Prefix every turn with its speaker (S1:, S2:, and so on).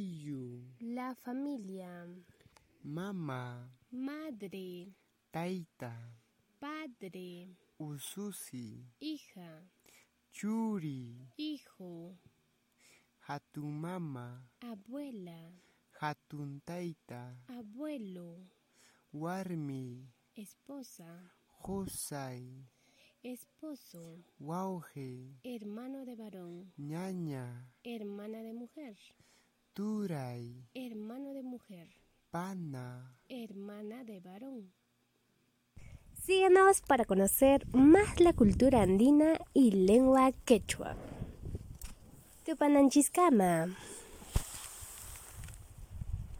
S1: Ayu,
S2: la familia,
S1: mamá,
S2: madre,
S1: taita,
S2: padre,
S1: ususi,
S2: hija,
S1: churi,
S2: hijo,
S1: hatumama,
S2: abuela,
S1: hatuntaita,
S2: abuelo,
S1: warmi,
S2: esposa,
S1: josai,
S2: esposo,
S1: wauge,
S2: hermano de varón,
S1: ñaña,
S2: hermana de mujer,
S1: turay,
S2: hermano de mujer,
S1: pana.
S2: hermana de varón.
S3: Síguenos para conocer más la cultura andina y lengua quechua. Tupananchis